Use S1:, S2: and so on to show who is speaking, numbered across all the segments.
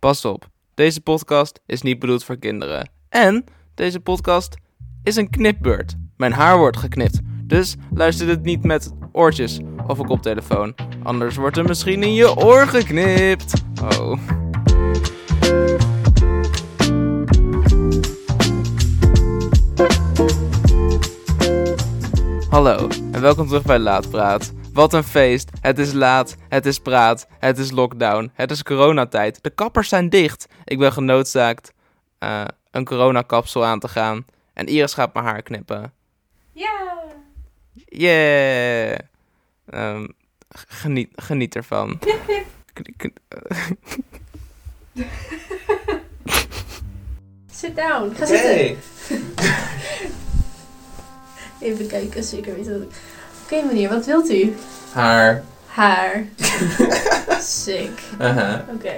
S1: Pas op, deze podcast is niet bedoeld voor kinderen. En deze podcast is een knipbeurt. Mijn haar wordt geknipt. Dus luister dit niet met oortjes of een koptelefoon. Anders wordt er misschien in je oor geknipt. Oh. Hallo en welkom terug bij Laatpraat. Wat een feest. Het is laat, het is praat, het is lockdown, het is coronatijd. De kappers zijn dicht. Ik ben genoodzaakt eh, een coronakapsel aan te gaan. En Iris gaat mijn haar knippen.
S2: Ja!
S1: Yeah! Ehm, g- geniet, geniet ervan.
S2: Knip, knip.
S1: Kn- kn-
S2: Sit down. Ga zitten.
S1: Hey.
S2: Even kijken, zeker weten dat ik... Oké meneer, wat wilt u?
S1: Haar.
S2: Haar. Sick.
S1: Aha.
S2: Oké.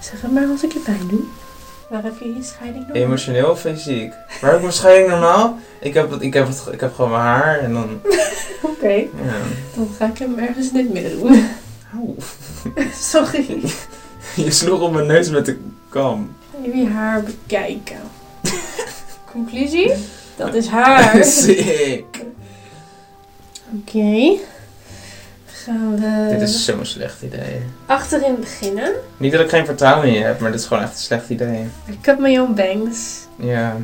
S2: Zeg het maar als ik je pijn doe. Waar heb je je scheiding door?
S1: Emotioneel of fysiek? Maar ik waarschijnlijk normaal. Ik heb, ik, heb het, ik heb gewoon mijn haar en dan.
S2: Oké,
S1: Ja.
S2: dan ga ik hem ergens in het midden doen.
S1: Auw.
S2: Sorry.
S1: Je sloeg op mijn neus met de kam.
S2: Even je haar bekijken. Conclusie? Dat is haar.
S1: Sick.
S2: Oké. Gaan we
S1: Dit is zo'n slecht idee.
S2: achterin beginnen.
S1: Niet dat ik geen vertrouwen in je heb, maar dit is gewoon echt een slecht idee.
S2: I cut my own bangs.
S1: Ja,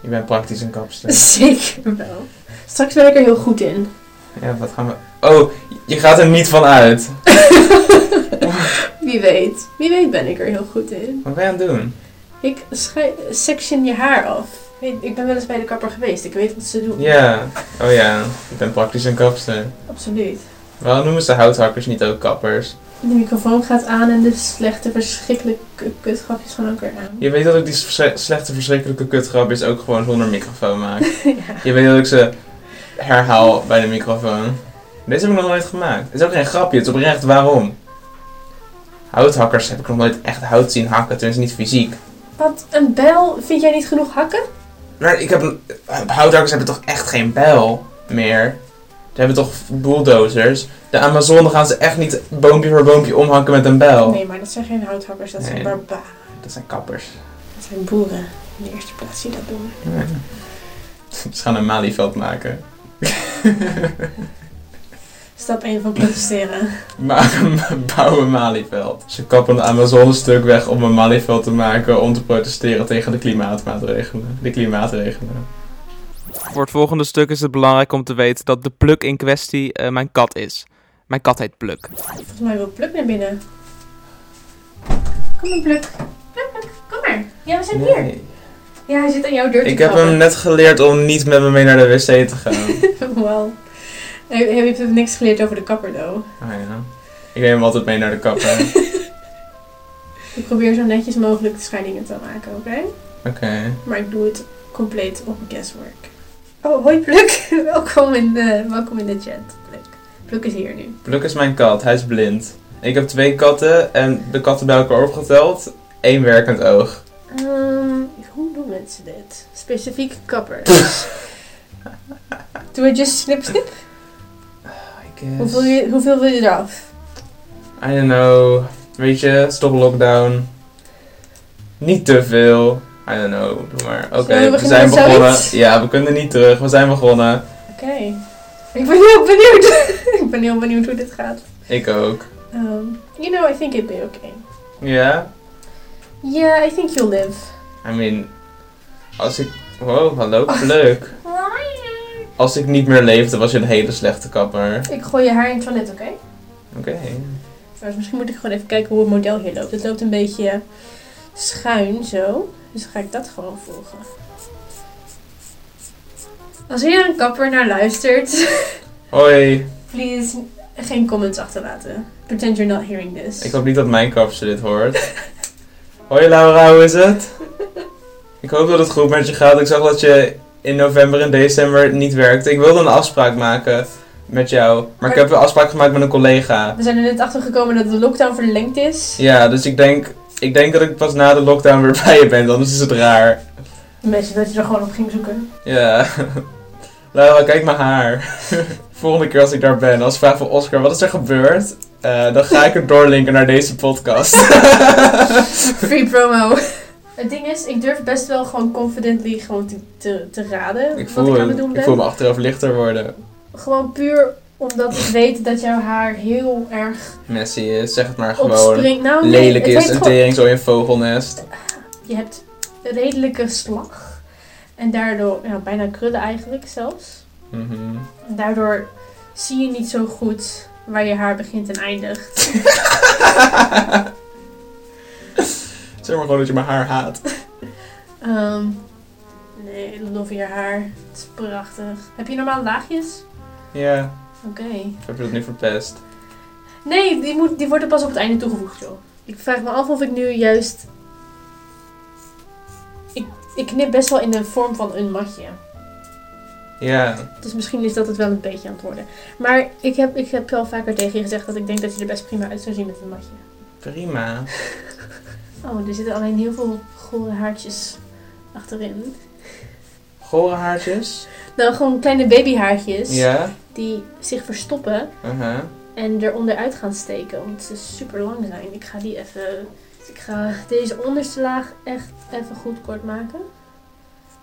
S1: je bent praktisch een kapster.
S2: Zeker wel. Straks ben ik er heel goed in.
S1: Ja, wat gaan we... Oh, je gaat er niet van uit.
S2: Wie weet. Wie weet ben ik er heel goed in.
S1: Wat ben je aan het doen?
S2: Ik schei- section je haar af. Weet- Ik ben wel eens bij de kapper geweest. Ik weet wat ze doen.
S1: Ja, oh ja, je bent praktisch een kapster.
S2: Absoluut.
S1: Waarom noemen ze houthakkers niet ook kappers?
S2: De microfoon gaat aan en de slechte, verschrikkelijke kutgrapjes gaan ook weer aan.
S1: Je weet dat ik die versch- slechte, verschrikkelijke kutgrapjes ook gewoon zonder microfoon maak.
S2: Ja.
S1: Je weet dat ik ze herhaal bij de microfoon. Deze heb ik nog nooit gemaakt. Het is ook geen grapje, het is oprecht waarom. Houthakkers heb ik nog nooit echt hout zien hakken, tenminste niet fysiek.
S2: Wat, een bel? Vind jij niet genoeg hakken?
S1: Maar ik heb, houthakkers hebben toch echt geen bijl meer? Ze hebben toch bulldozers? De Amazone gaan ze echt niet boompje voor boompje omhakken met een bijl.
S2: Nee, maar dat zijn geen houthakkers. Dat zijn
S1: Oh. Nee.
S2: barbaren.
S1: Dat zijn kappers.
S2: Dat zijn boeren. In de eerste plaats die dat doen.
S1: Ze gaan een malieveld maken.
S2: Stap 1 van protesteren.
S1: Maken, bouwen een malieveld. Ze kappen de Amazone stuk weg om een malieveld te maken om te protesteren tegen de klimaatmaatregelen. De klimaatregelen. Voor het volgende stuk is het belangrijk om te weten dat de pluk in kwestie eh, mijn kat is. Mijn kat heet Pluk.
S2: Volgens mij wil Pluk naar binnen. Kom maar, Pluk. Pluk, Pluk, kom maar. Ja, we zijn hier. Ja, hij zit aan jouw deur te
S1: Ik heb hem
S2: klappen.
S1: net geleerd om niet met me mee naar de wc te gaan.
S2: Wauw. Hij hij heeft hem niks geleerd over de kapper, though.
S1: Ah ja. Ik neem hem altijd mee naar de kapper. Oké.
S2: Ik probeer zo netjes mogelijk de scheidingen te maken, oké? Maar ik doe het compleet op guesswork. Oh, hoi Pluk. welkom, in de, welkom in de chat, Pluk. Pluk is hier nu.
S1: Pluk is mijn kat, hij is blind. Ik heb twee katten en de katten bij elkaar opgeteld, één werkend oog.
S2: Ehm, hoe doen mensen dit? Specifiek kappers. doe het just snip snip?
S1: I guess.
S2: Hoeveel, je- hoeveel wil je eraf?
S1: I don't know. Weet je, stop lockdown. Niet te veel. I don't know, doe maar. Oké,
S2: Zullen we
S1: we
S2: beginnen
S1: zijn
S2: met
S1: begonnen.
S2: zoiets?
S1: Ja, we kunnen niet terug, we zijn begonnen.
S2: Oké. Ik ben heel benieuwd. ik ben heel benieuwd hoe dit gaat.
S1: Ik ook.
S2: Um, you know, I think it'd be okay.
S1: Ja?
S2: Yeah, I think you'll live.
S1: I mean, als ik... Wow, hallo, Pluk. Als ik niet meer leefde, was je een hele slechte kapper.
S2: Ik gooi je haar in het toilet, oké?
S1: Oké.
S2: Trouwens, Misschien moet ik gewoon even kijken hoe het model hier loopt. Het loopt een beetje schuin zo. Dus dan ga ik dat gewoon volgen. Als hier een kapper naar luistert,
S1: Hoi.
S2: please geen comments achterlaten. Pretend you're not hearing this.
S1: Ik hoop niet dat mijn kapster dit hoort. Hoi Laura, hoe is het? Ik hoop dat het goed met je gaat. Ik zag dat je in november en december niet werkte. Ik wilde een afspraak maken met jou. Maar ik heb een afspraak gemaakt met een collega.
S2: We zijn er net achter gekomen dat de lockdown verlengd is.
S1: Ja, dus ik denk, ik denk dat ik pas na de lockdown weer bij je ben. Anders is het raar.
S2: Mensen dat je er gewoon op ging zoeken.
S1: Ja. Laura, kijk mijn haar. Volgende keer als ik daar ben, als ik vraag van Oscar, wat is er gebeurd? eh, dan ga ik het doorlinken naar deze podcast.
S2: Free promo. Het ding is, ik durf best wel gewoon confidently gewoon te, te, te raden
S1: ik,
S2: wat
S1: voel,
S2: ik aan het doen
S1: ik
S2: ben.
S1: voel me achteraf lichter worden.
S2: Gewoon puur omdat ik weet dat jouw haar heel erg
S1: Messi is, zeg het maar gewoon.
S2: opspringt. Nou, nee,
S1: Lelijk
S2: het
S1: is,
S2: heeft
S1: een
S2: gewoon-
S1: tering, zo in vogelnest.
S2: Je hebt een redelijke slag. En daardoor, ja, bijna krullen eigenlijk zelfs.
S1: Mhm.
S2: En daardoor zie je niet zo goed waar je haar begint en eindigt.
S1: zeg maar gewoon dat je mijn haar haat.
S2: Ehm nee, love je haar. Het is prachtig. Heb je normaal laagjes?
S1: Ja,
S2: Oké.
S1: ik heb je dat nu verpest.
S2: Nee, die, moet, die worden pas op het einde toegevoegd, joh. Ik vraag me af of ik nu juist... Ik, ik knip best wel in de vorm van een matje.
S1: Ja,
S2: Dus misschien is dat het wel een beetje aan het worden. Maar ik heb, ik heb wel vaker tegen je gezegd dat ik denk dat je er best prima uit zou zien met een matje.
S1: prima.
S2: Oh, er zitten alleen heel veel gore haartjes achterin.
S1: Gore haartjes.
S2: Nou, gewoon kleine babyhaartjes
S1: Ja, uh-huh.
S2: die zich verstoppen
S1: aha.
S2: en eronder uit gaan steken. Omdat ze super lang zijn. Ik ga die even. Ik ga deze onderste laag echt even goed kort maken.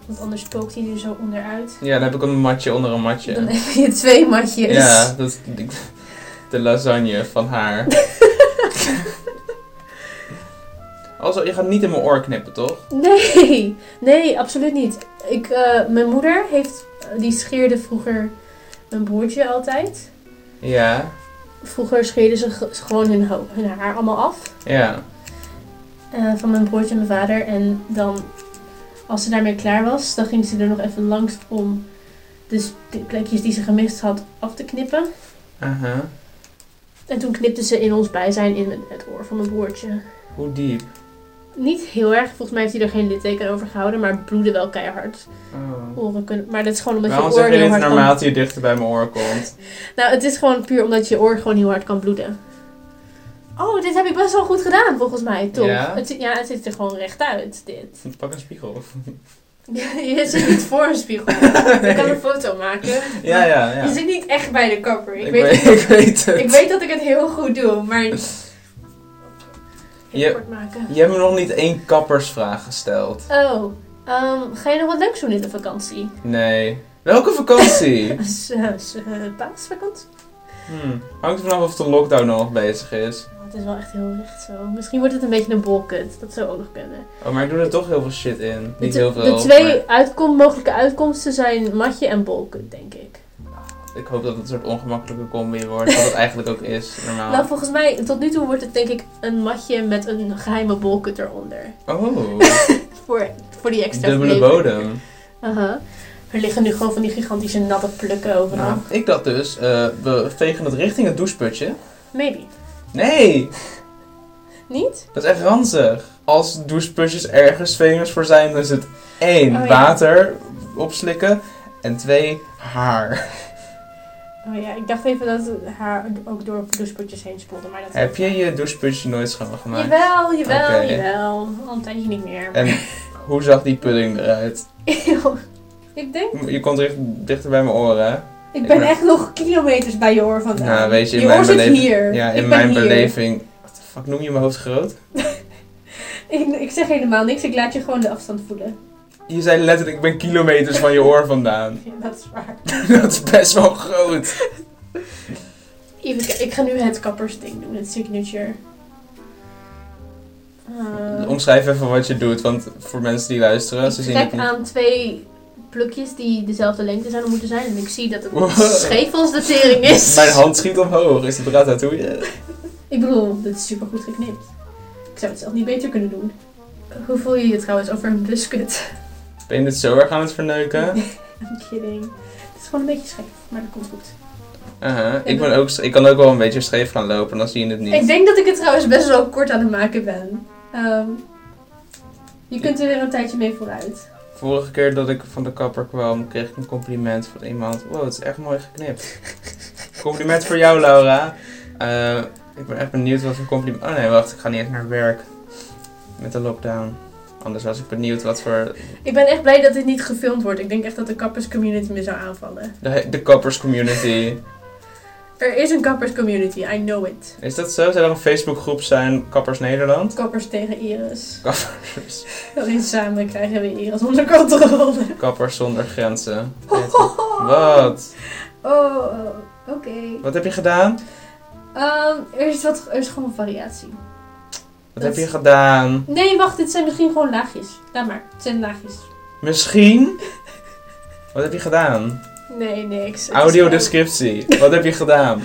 S2: Want anders spookt hij er zo onderuit.
S1: Ja, dan heb ik een matje onder een matje.
S2: Dan heb je twee matjes.
S1: Ja, dat is ik- de lasagne van haar. Also, je gaat niet in mijn oor knippen, toch?
S2: Nee, nee, absoluut niet. Ik, eh, mijn moeder heeft, die scheerde vroeger mijn broertje altijd.
S1: Ja,
S2: Vroeger scheerden ze ge- gewoon hun, ho- hun haar allemaal af.
S1: ja.
S2: eh, van mijn broertje en mijn vader. En dan, als ze daarmee klaar was, dan ging ze er nog even langs om dus de sp- plekjes die ze gemist had af te knippen.
S1: Aha.
S2: En toen knipte ze in ons bijzijn in het- het oor van mijn broertje.
S1: Hoe diep?
S2: Niet heel erg, volgens mij heeft hij er geen litteken over gehouden, maar bloedde wel keihard.
S1: Oh.
S2: Oren kunnen, maar dat is gewoon omdat
S1: Waarom
S2: je oor
S1: zeg je
S2: heel
S1: dit
S2: hard kan
S1: naarmate je dichter bij mijn oor komt?
S2: Nou, het is gewoon puur omdat je oor gewoon heel hard kan bloeden. Oh, dit heb ik best wel goed gedaan, volgens mij, toch?
S1: Ja?
S2: Het, zi- ja, het zit er gewoon rechtuit, dit.
S1: Pak een spiegel.
S2: je zit niet voor een spiegel. Ik kan een foto maken.
S1: Ja, ja,
S2: Je
S1: ja.
S2: zit niet echt bij de kapper. Ik,
S1: Ik
S2: weet,
S1: weet, ik weet het.
S2: ik weet dat ik het heel goed doe, maar... Heel
S1: Je-
S2: kort maken.
S1: Je hebt me nog niet één kappersvraag gesteld.
S2: Oh, ehm, ga je nog wat leuks doen in de vakantie?
S1: Nee. Welke vakantie?
S2: S- eh, s- eh, Paasvakantie?
S1: Hm, Hangt er vanaf of de lockdown nog bezig is.
S2: Oh, het is wel echt heel recht zo. Misschien wordt het een beetje een bolkut. Dat zou ook nog kunnen.
S1: Oh, maar ik doe er toch heel veel shit in.
S2: De
S1: Niet
S2: t-
S1: heel veel.
S2: De twee
S1: maar
S2: uitkom- mogelijke uitkomsten zijn matje en bolkut, denk ik.
S1: Ik hoop dat het een soort ongemakkelijke combi wordt. Wat het eigenlijk ook is, normaal.
S2: Nou, volgens mij, tot nu toe wordt het denk ik een matje met een geheime bolkut eronder.
S1: Oh,
S2: Voor, voor die extra
S1: dubbele
S2: flavor.
S1: bodem.
S2: Aha. Er liggen nu gewoon van die gigantische natte plukken overal.
S1: Nou, ik dacht dus, eh, we vegen het richting het doucheputje.
S2: Maybe.
S1: Nee,
S2: Niet?
S1: dat is echt ranzig. Als doucheputjes ergens famous voor zijn, dan is het één,
S2: Oh, ja.
S1: water opslikken. En twee, haar.
S2: Oh ja, ik dacht even dat haar ook door douchepotjes heen spoelde, maar dat...
S1: Heb je je doucheputje nooit schoongemaakt?
S2: Jawel, jawel,
S1: Oké.
S2: jawel. Al een tijdje niet meer.
S1: En hoe zag die pudding eruit?
S2: ik denk...
S1: Je komt echt dichter bij mijn oren, hè?
S2: Ik
S1: Ik
S2: ben
S1: ben-
S2: echt nog kilometers bij je oor vandaan.
S1: Nou, weet je, in
S2: je
S1: mijn
S2: oor zit
S1: beleving-
S2: hier.
S1: Ja,
S2: Ik
S1: in
S2: ben
S1: mijn
S2: hier.
S1: beleving... Wat de fuck, noem je mijn hoofd groot?
S2: Ik, ik zeg helemaal niks, ik laat je gewoon de afstand voelen.
S1: Je zei letterlijk, ik ben kilometers van je oor vandaan.
S2: Ja, dat is waar.
S1: Dat is best wel groot.
S2: Even, kijken, ik ga nu het kappersding doen, het signature. Eh,
S1: Omschrijf even wat je doet, want voor mensen die luisteren, ze
S2: ik
S1: zien het
S2: trek
S1: niet.
S2: aan twee plukjes die dezelfde lengte zouden moeten zijn. En ik zie dat het
S1: Wow.
S2: scheef als de tering is.
S1: Mijn hand schiet omhoog, is het ratatouille?
S2: Ik bedoel, dit is super goed geknipt. Ik zou het zelf niet beter kunnen doen. Hoe voel je je trouwens over een buskut?
S1: Ben je dit zo erg aan het verneuken?
S2: I'm kidding. Het is gewoon een beetje scheef, maar dat komt goed.
S1: Aha, ik, ben ook, ik kan ook wel een beetje scheef gaan lopen, dan zie je het niet.
S2: Ik denk dat ik het trouwens best wel kort aan het maken ben. Ehm, je kunt er weer een tijdje mee vooruit.
S1: Vorige keer dat ik van de kapper kwam, kreeg ik een compliment van iemand. Wow, het is echt mooi geknipt. compliment voor jou, Laura. Eh, ik ben echt benieuwd wat voor compliment... Oh nee, wacht, ik ga niet eens naar werk. Met de lockdown. Anders was ik benieuwd wat voor...
S2: Ik ben echt blij dat dit niet gefilmd wordt. Ik denk echt dat de kapperscommunity me zou aanvallen.
S1: De, de kapperscommunity.
S2: Er is een kapperscommunity, I know it.
S1: Is dat zo? Zou er een Facebookgroep zijn, Kappers Nederland?
S2: Kappers tegen Iris.
S1: Kappers.
S2: Alleen samen krijgen we Iris onder controle.
S1: Kappers zonder grenzen. Wat?
S2: Oh, oh, oké.
S1: Wat heb je gedaan?
S2: Ehm, er, is wat, er is gewoon variatie.
S1: Wat
S2: Dat-
S1: heb je gedaan?
S2: Nee, wacht, dit zijn misschien gewoon laagjes. Laat maar, het zijn laagjes.
S1: Misschien? Wat heb je gedaan?
S2: Nee, niks. Het is gewoon-
S1: Audiodescriptie. Wat heb je gedaan?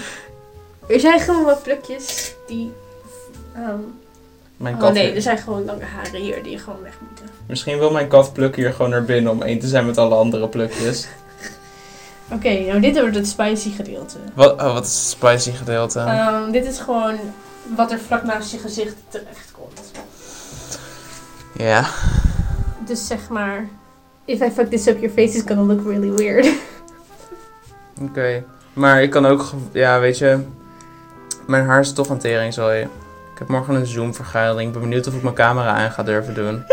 S2: Er zijn gewoon wat plukjes die... ehm,
S1: Mijn
S2: oh
S1: kat.
S2: nee, er zijn gewoon lange haren hier die gewoon weg moeten.
S1: Misschien wil mijn kat pluk hier gewoon naar binnen om één te zijn met alle andere plukjes.
S2: Oké, nou dit wordt het spicy gedeelte.
S1: Wat, oh, wat is het spicy gedeelte?
S2: Ehm, dit is gewoon wat er vlak naast je gezicht terecht komt.
S1: Ja.
S2: Dus zeg maar, if I fuck this up, your face is gonna look really weird.
S1: Oké. Maar ik kan ook, ge- ja, weet je, mijn haar is toch een tering, sorry. Ik heb morgen een Zoom-vergadering. Ik ben benieuwd of ik mijn camera aan ga durven doen.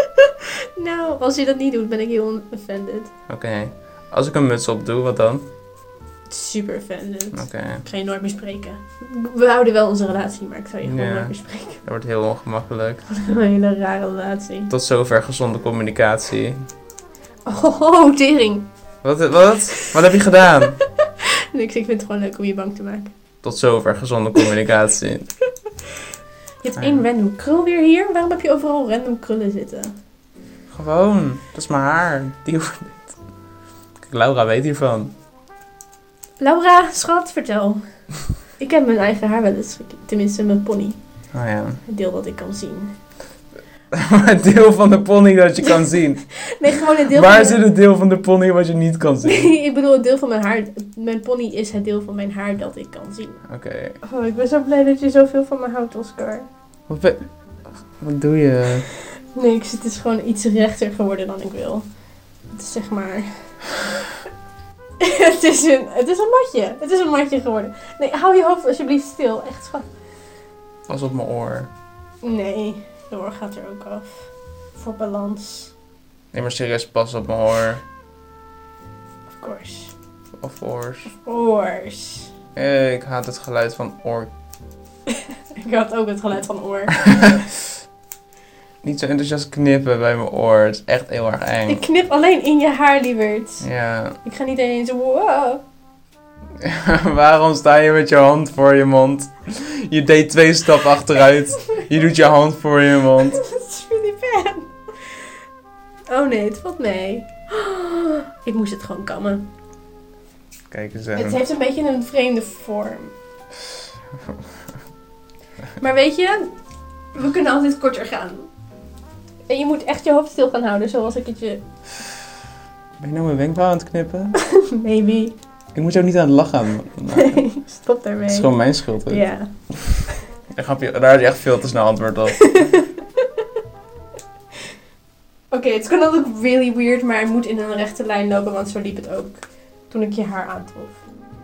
S2: nou, als je dat niet doet, ben ik heel offended.
S1: Oké. Als ik een muts op doe, wat dan?
S2: Super offended.
S1: Oké.
S2: Ik ga je nooit meer spreken. We houden wel onze relatie, maar ik zou je gewoon
S1: Ja.
S2: nooit meer spreken.
S1: Dat wordt heel ongemakkelijk.
S2: Een hele rare relatie.
S1: Tot zover gezonde communicatie.
S2: Oh, oh, tering.
S1: Wat? Wat, wat heb je gedaan?
S2: Niks, ik vind het gewoon leuk om je bang te maken.
S1: Tot zover gezonde communicatie.
S2: Je hebt
S1: Ah,
S2: één
S1: ja.
S2: random krul weer hier. Waarom heb je overal random krullen zitten?
S1: Gewoon, dat is mijn haar. Die hoeft niet. Kijk, Laura weet hiervan.
S2: Laura, schat, vertel. ik heb mijn eigen haar wel eens geknipt. Tenminste, mijn pony.
S1: Oh ja.
S2: Het deel dat ik kan zien.
S1: Maar het deel van de pony dat je kan zien.
S2: Nee, gewoon het deel
S1: Waar
S2: van
S1: zit
S2: mijn-
S1: het deel van de pony wat je niet kan zien?
S2: Nee, ik bedoel, het deel van mijn haar. Mijn pony is het deel van mijn haar dat ik kan zien.
S1: Oké.
S2: Oh, ik ben zo blij dat je zoveel van me houdt, Oscar.
S1: Wat, ben- wat doe je?
S2: Niks, het is gewoon iets rechter geworden dan ik wil. Het is zeg maar. het, is een, het is een matje. Het is een matje geworden. Nee, hou je hoofd alsjeblieft stil. Echt schat.
S1: Pas op mijn oor.
S2: Nee, de oor gaat er ook af. Voor balans.
S1: Nee, maar serieus, pas op mijn oor.
S2: Of course.
S1: Of oors.
S2: Of course.
S1: Eh, ik haat het geluid van oor.
S2: Ik had ook het geluid van oor.
S1: Niet zo enthousiast knippen bij mijn oor. Het is echt heel erg eng.
S2: Ik knip alleen in je haar, lieverd.
S1: Ja.
S2: Ik ga niet eens. Wow.
S1: Waarom sta je met je hand voor je mond? Je deed twee stappen achteruit. Je doet je hand voor je mond.
S2: Dat is really bad. Oh nee, het valt mee. Ik moest het gewoon kammen.
S1: Kijk eens eh,
S2: Het
S1: aan.
S2: heeft een beetje een vreemde vorm. Maar weet je, we kunnen altijd korter gaan. En je moet echt je hoofd stil gaan houden, zoals ik het je...
S1: Ben je nou mijn wenkbrauw aan het knippen?
S2: Maybe.
S1: Ik moet jou niet aan het lachen. maken.
S2: Nee, stop
S1: Het is
S2: daarmee.
S1: gewoon mijn schuld. hè?
S2: Ja.
S1: Daar had je daar had je echt veel te snel antwoord op.
S2: Oké, het kan ook really weird, maar het moet in een rechte lijn lopen, want zo liep het ook toen ik je haar aantrof.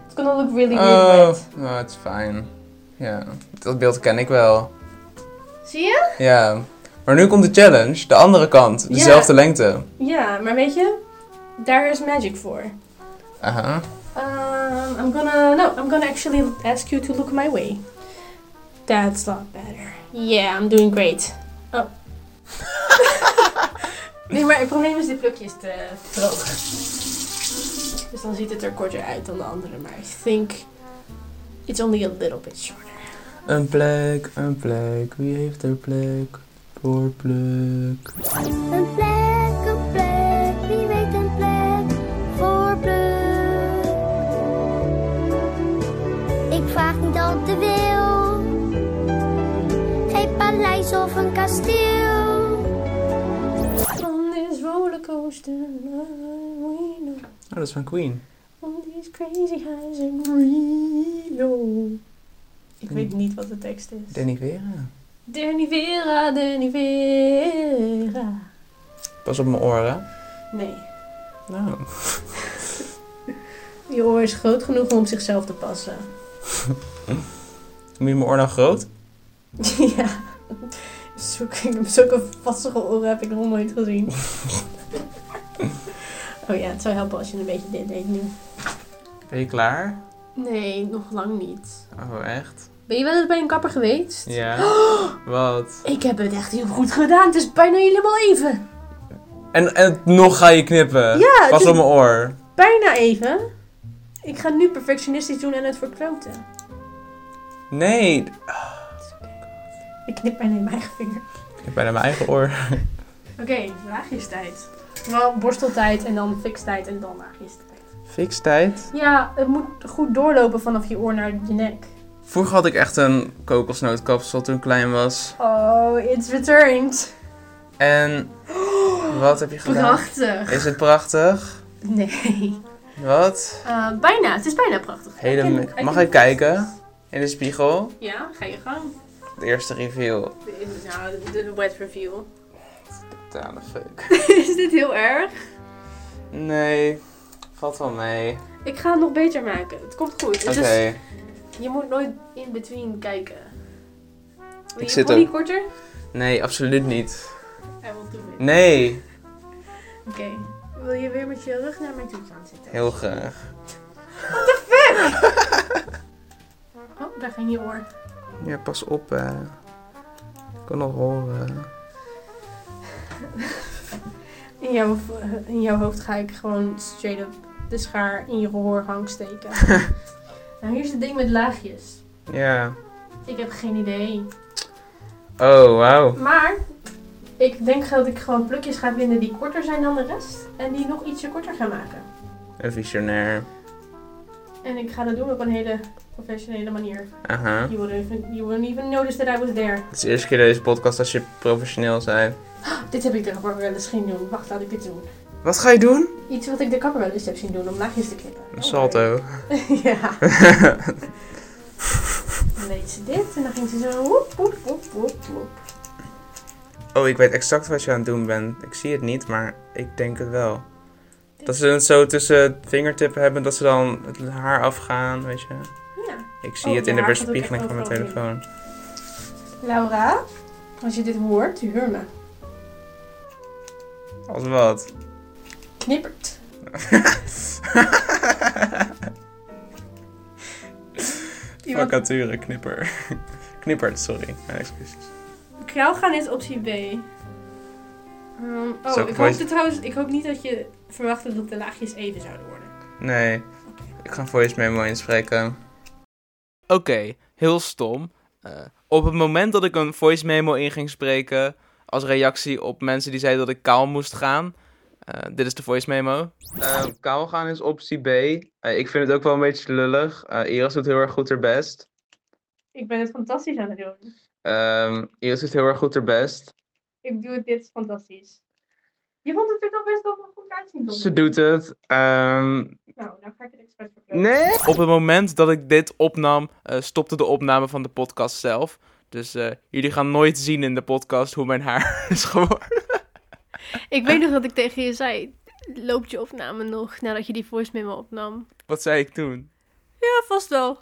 S2: Het kan ook really
S1: Oh,
S2: weird.
S1: oh, het is fijn. Ja, dat beeld ken ik wel.
S2: Zie je?
S1: Ja. Maar nu komt de challenge, de andere kant,
S2: Ja.
S1: dezelfde lengte.
S2: Ja, maar weet je, daar is magic voor.
S1: Aha.
S2: Um, I'm gonna, no, I'm gonna actually ask you to look my way. That's a lot better. Yeah, I'm doing great. Oh. nee, maar het probleem is, dit plukje is te droog. Dus dan ziet het er korter uit dan de andere, maar I think it's only a little bit shorter.
S1: Een plek, een plek, wie heeft er plek voor plek?
S3: Een plek, een plek, wie weet een plek voor plek. Ik vraag niet al te veel, geen paleis of een kasteel.
S2: On this rollercoaster, we know.
S1: Oh, dat is van Queen.
S2: On these crazy highs in Reno. Ik weet niet wat de tekst is.
S1: Danny Vera.
S2: Danny Vera, Danny Vera.
S1: Pas op mijn oren.
S2: Nee,
S1: Nou.
S2: je oor is groot genoeg om op zichzelf te passen.
S1: Moet je mijn oor nou groot?
S2: ja, zulke, zulke vastige oren heb ik nog nooit gezien. oh ja, het zou helpen als je een beetje dit deed nu.
S1: Ben je klaar?
S2: Nee, nog lang niet.
S1: Oh, echt?
S2: Ben je wel eens bij een kapper geweest?
S1: Ja. Wat?
S2: Ik heb het echt heel goed gedaan. Het is bijna helemaal even.
S1: En, en nog ga je knippen.
S2: Ja, het
S1: Pas
S2: is-
S1: op mijn oor.
S2: Bijna even. Ik ga nu perfectionistisch doen en het verkloten.
S1: Nee.
S2: Ik knip bijna in mijn eigen vinger.
S1: Ik ben aan mijn eigen oor.
S2: Oké, laagjes tijd. Wel borsteltijd en dan fikstijd en dan laagjes tijd.
S1: Fix tijd.
S2: Ja, het moet goed doorlopen vanaf je oor naar je nek.
S1: Vroeger had ik echt een kokosnootkapsel toen ik klein was.
S2: Oh, it's returned.
S1: En wat heb je gedaan?
S2: Prachtig.
S1: Is het prachtig?
S2: Nee.
S1: Wat?
S2: Eh, bijna, het is bijna prachtig.
S1: Hele
S2: I can-
S1: me-
S2: I
S1: Mag
S2: can-
S1: ik kijken? In de spiegel?
S2: Ja, ga je gang.
S1: De eerste reveal.
S2: Nou, de- de wet review.
S1: Totale fuck.
S2: is dit heel erg?
S1: Nee. Valt wel mee.
S2: Ik ga het nog beter maken. Het komt goed. Het
S1: Oké.
S2: is- je moet nooit in between kijken. Wil je
S1: Ik zit
S2: body
S1: hem.
S2: korter?
S1: Nee, absoluut niet.
S2: I will do it.
S1: Nee.
S2: Oké. Wil je weer met je rug naar mijn toe gaan zitten?
S1: Heel graag.
S2: Oh, daar ging je oor.
S1: Ja, pas op. hè. Ik kan nog horen.
S2: In jouw, in jouw hoofd ga ik gewoon straight up de schaar in je gehoorgang steken. nou, hier is het ding met laagjes.
S1: Ja.
S2: Ik heb geen idee.
S1: Oh, wauw.
S2: Maar ik denk dat ik gewoon plukjes ga vinden die korter zijn dan de rest. En die nog ietsje korter gaan maken.
S1: Een visionair.
S2: En ik ga dat doen op een hele professionele manier.
S1: Aha.
S2: You wouldn't even, you wouldn't even notice that I was there.
S1: Het is de eerste keer deze podcast als je professioneel bent.
S2: Dit heb ik de kapper wel eens zien doen. Wacht, laat ik dit doen.
S1: Wat ga je doen?
S2: Iets wat ik de kapper wel eens heb zien doen om laagjes te knippen.
S1: Een salto.
S2: ja. Dan deed ze dit en dan ging ze zo woep, woep, woep, woep, woep.
S1: Oh, ik weet exact wat je aan het doen bent. Ik zie het niet, maar ik denk het wel. Dat ze het zo tussen het vingertippen hebben, dat ze dan het haar afgaan, weet je.
S2: Ja.
S1: Ik zie
S2: Oh,
S1: het in de
S2: ja, dat doe ik
S1: weerspiegeling
S2: echt
S1: van mijn
S2: overal
S1: telefoon.
S2: Laura, als je dit hoort, huur me.
S1: Als wat?
S2: Knippert. Iemand-
S1: Vacature, knipper. Knippert, sorry. Mijn excuses.
S2: Kraal gaan is optie B. Ehm,
S1: Zou
S2: oh,
S1: ik
S2: ik
S1: voor je-
S2: hoopte trouwens, ik hoop niet dat je verwachtte dat de laagjes even zouden worden.
S1: Nee, ik ga een voice memo inspreken. Oké, heel stom. Eh, op het moment dat ik een voice memo in ging spreken, als reactie op mensen die zeiden dat ik kaal moest gaan. eh, dit is de voice memo. Eh, kaal gaan is optie B. Eh, ik vind het ook wel een beetje lullig. Eh, Iris doet heel erg goed haar best.
S2: Ik ben het fantastisch aan het doen.
S1: Ehm, Iris doet heel erg goed haar best.
S2: Ik doe het, dit is fantastisch. Je vond het er toch best wel goed uitzien, toch?
S1: Ze doet het. Ehm,
S2: Nou, nou ga ik het expres verklaren.
S1: Nee. Op het moment dat ik dit opnam, eh, stopte de opname van de podcast zelf. Dus eh, jullie gaan nooit zien in de podcast hoe mijn haar is geworden.
S4: Ik weet nog dat ik tegen je zei, loopt je opname nog nadat je die voice memo opnam?
S1: Wat zei ik toen?
S4: Ja, vast wel.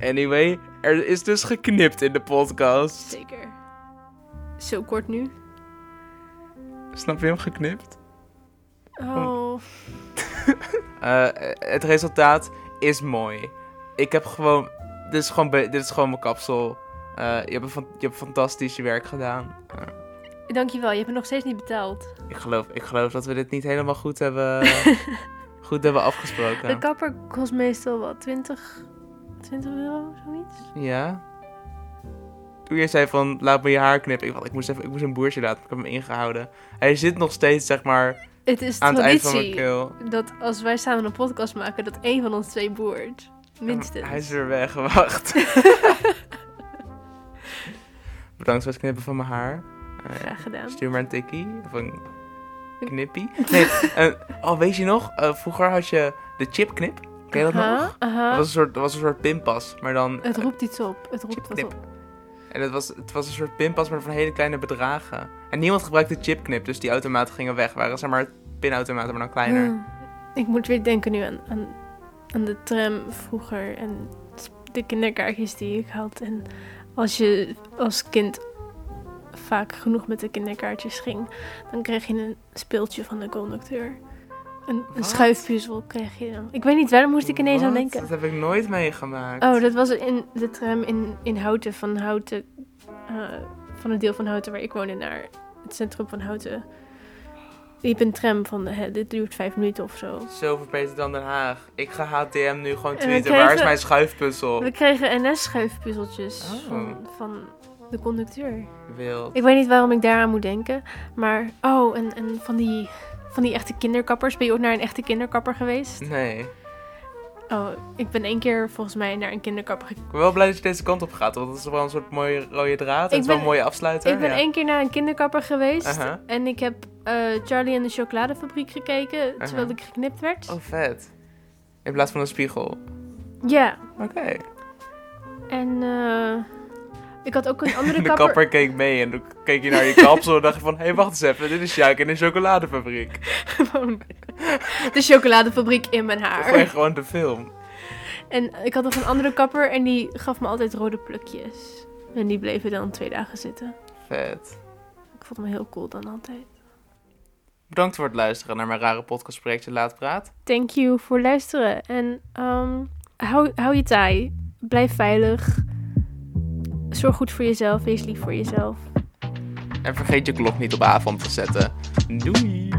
S1: Anyway, er is dus geknipt in de podcast.
S4: Zeker. Zo kort nu.
S1: Snap je hem geknipt?
S4: Oh,
S1: Eh, het resultaat is mooi. Ik heb gewoon. Dit is gewoon, be- dit is gewoon mijn kapsel. Eh, je, hebt een fan- je hebt fantastisch je werk gedaan. Eh,
S4: dankjewel. Je hebt me nog steeds niet betaald.
S1: ik, geloof, ik geloof dat we dit niet helemaal goed hebben, goed hebben afgesproken.
S4: De kapper kost meestal wat, 20, 20 euro, zoiets?
S1: Ja. Toen jij zei van, laat me je haar knippen. Ik, dacht, ik, moest, even, ik moest een boertje laten, maar ik heb hem ingehouden. Hij zit nog steeds, zeg maar,
S4: Het is
S1: aan het eind van mijn
S4: traditie
S1: keel.
S4: dat als wij samen een podcast maken, dat één van ons twee boert. Minstens.
S1: Hij is weer weg, wacht. Bedankt voor het knippen van mijn haar. Eh,
S4: Graag gedaan.
S1: stuur maar een tikkie. Of een knippie. Nee, een- oh, weet je nog? Eh, vroeger had je de chipknip. Ken je dat nog?
S4: Aha,
S1: Dat
S4: aha.
S1: was een soort, dat was een soort pinpas, maar dan...
S4: Het
S1: eh,
S4: roept iets op. Het roept wat
S1: Chipknip.
S4: op.
S1: En het was, het was een soort pinpas, maar van hele kleine bedragen. En niemand gebruikte chipknip, dus die automaten gingen weg. Waren zeg maar pinautomaten, maar dan kleiner.
S4: Hmm. Ik moet weer denken nu aan, aan, aan de tram vroeger en de kinderkaartjes die ik had. En als je als kind vaak genoeg met de kinderkaartjes ging, dan kreeg je een speeltje van de conducteur.
S2: Een, een
S1: Wat?
S2: schuifpuzzel kreeg je dan. Ik weet niet, waarom moest ik ineens aan
S1: Wat?
S2: denken.
S1: Dat heb ik nooit meegemaakt.
S2: Oh, dat was in de tram in, in Houten. Van Houten. eh, van het deel van Houten waar ik woonde naar het centrum van Houten. Liep een tram van, hè, dit duurt vijf minuten of zo.
S1: Zoveel beter dan Den Haag. Ik ga HTM nu gewoon
S2: En we
S1: tweeten.
S2: kregen-
S1: Waar is mijn schuifpuzzel?
S2: We kregen NS-schuifpuzzeltjes
S1: Oh.
S2: van, van de conducteur.
S1: Wild.
S2: Ik weet niet waarom ik daaraan moet denken. Maar, oh, en, en van, die, van die echte kinderkappers. Ben je ook naar een echte kinderkapper geweest?
S1: Nee. Ik
S2: Oh, ik ben één keer volgens mij naar een kinderkapper gekomen.
S1: ben wel blij dat je deze kant op gaat. Want dat is wel een soort mooie rode draad. En
S2: Ik
S1: het is wel een
S2: ben-
S1: mooie afsluiter.
S2: Ik ben
S1: ja.
S2: één keer naar een kinderkapper geweest.
S1: Aha.
S2: En ik heb eh, Charlie en de chocoladefabriek gekeken. Terwijl ik geknipt werd.
S1: Oh, vet. In plaats van een spiegel.
S2: Ja.
S1: Oké.
S2: En eh, ik had ook een andere
S1: De
S2: kapper.
S1: kapper... keek mee en toen keek hij naar je kapsel en dacht je van... Hé, hey, wacht eens even. Dit is Sjaak in een chocoladefabriek.
S2: Gewoon de chocoladefabriek in mijn
S1: Dat is
S2: haar.
S1: gewoon de film.
S2: En ik had nog een andere kapper. En die gaf me altijd rode plukjes. En die bleven dan twee dagen zitten.
S1: Vet.
S2: Ik vond me heel cool dan altijd.
S1: Bedankt voor het luisteren naar mijn rare podcastprojectje Laat Praat.
S2: Thank you voor luisteren. En ehm, hou, hou je taai. Blijf veilig. Zorg goed voor jezelf. Wees lief voor jezelf.
S1: En vergeet je klok niet op avond te zetten. Doei!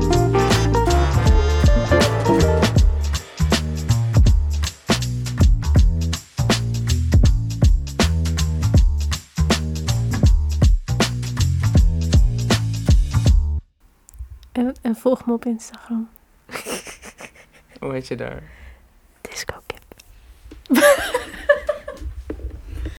S2: En, en volg me op Instagram.
S1: Hoe heet je daar?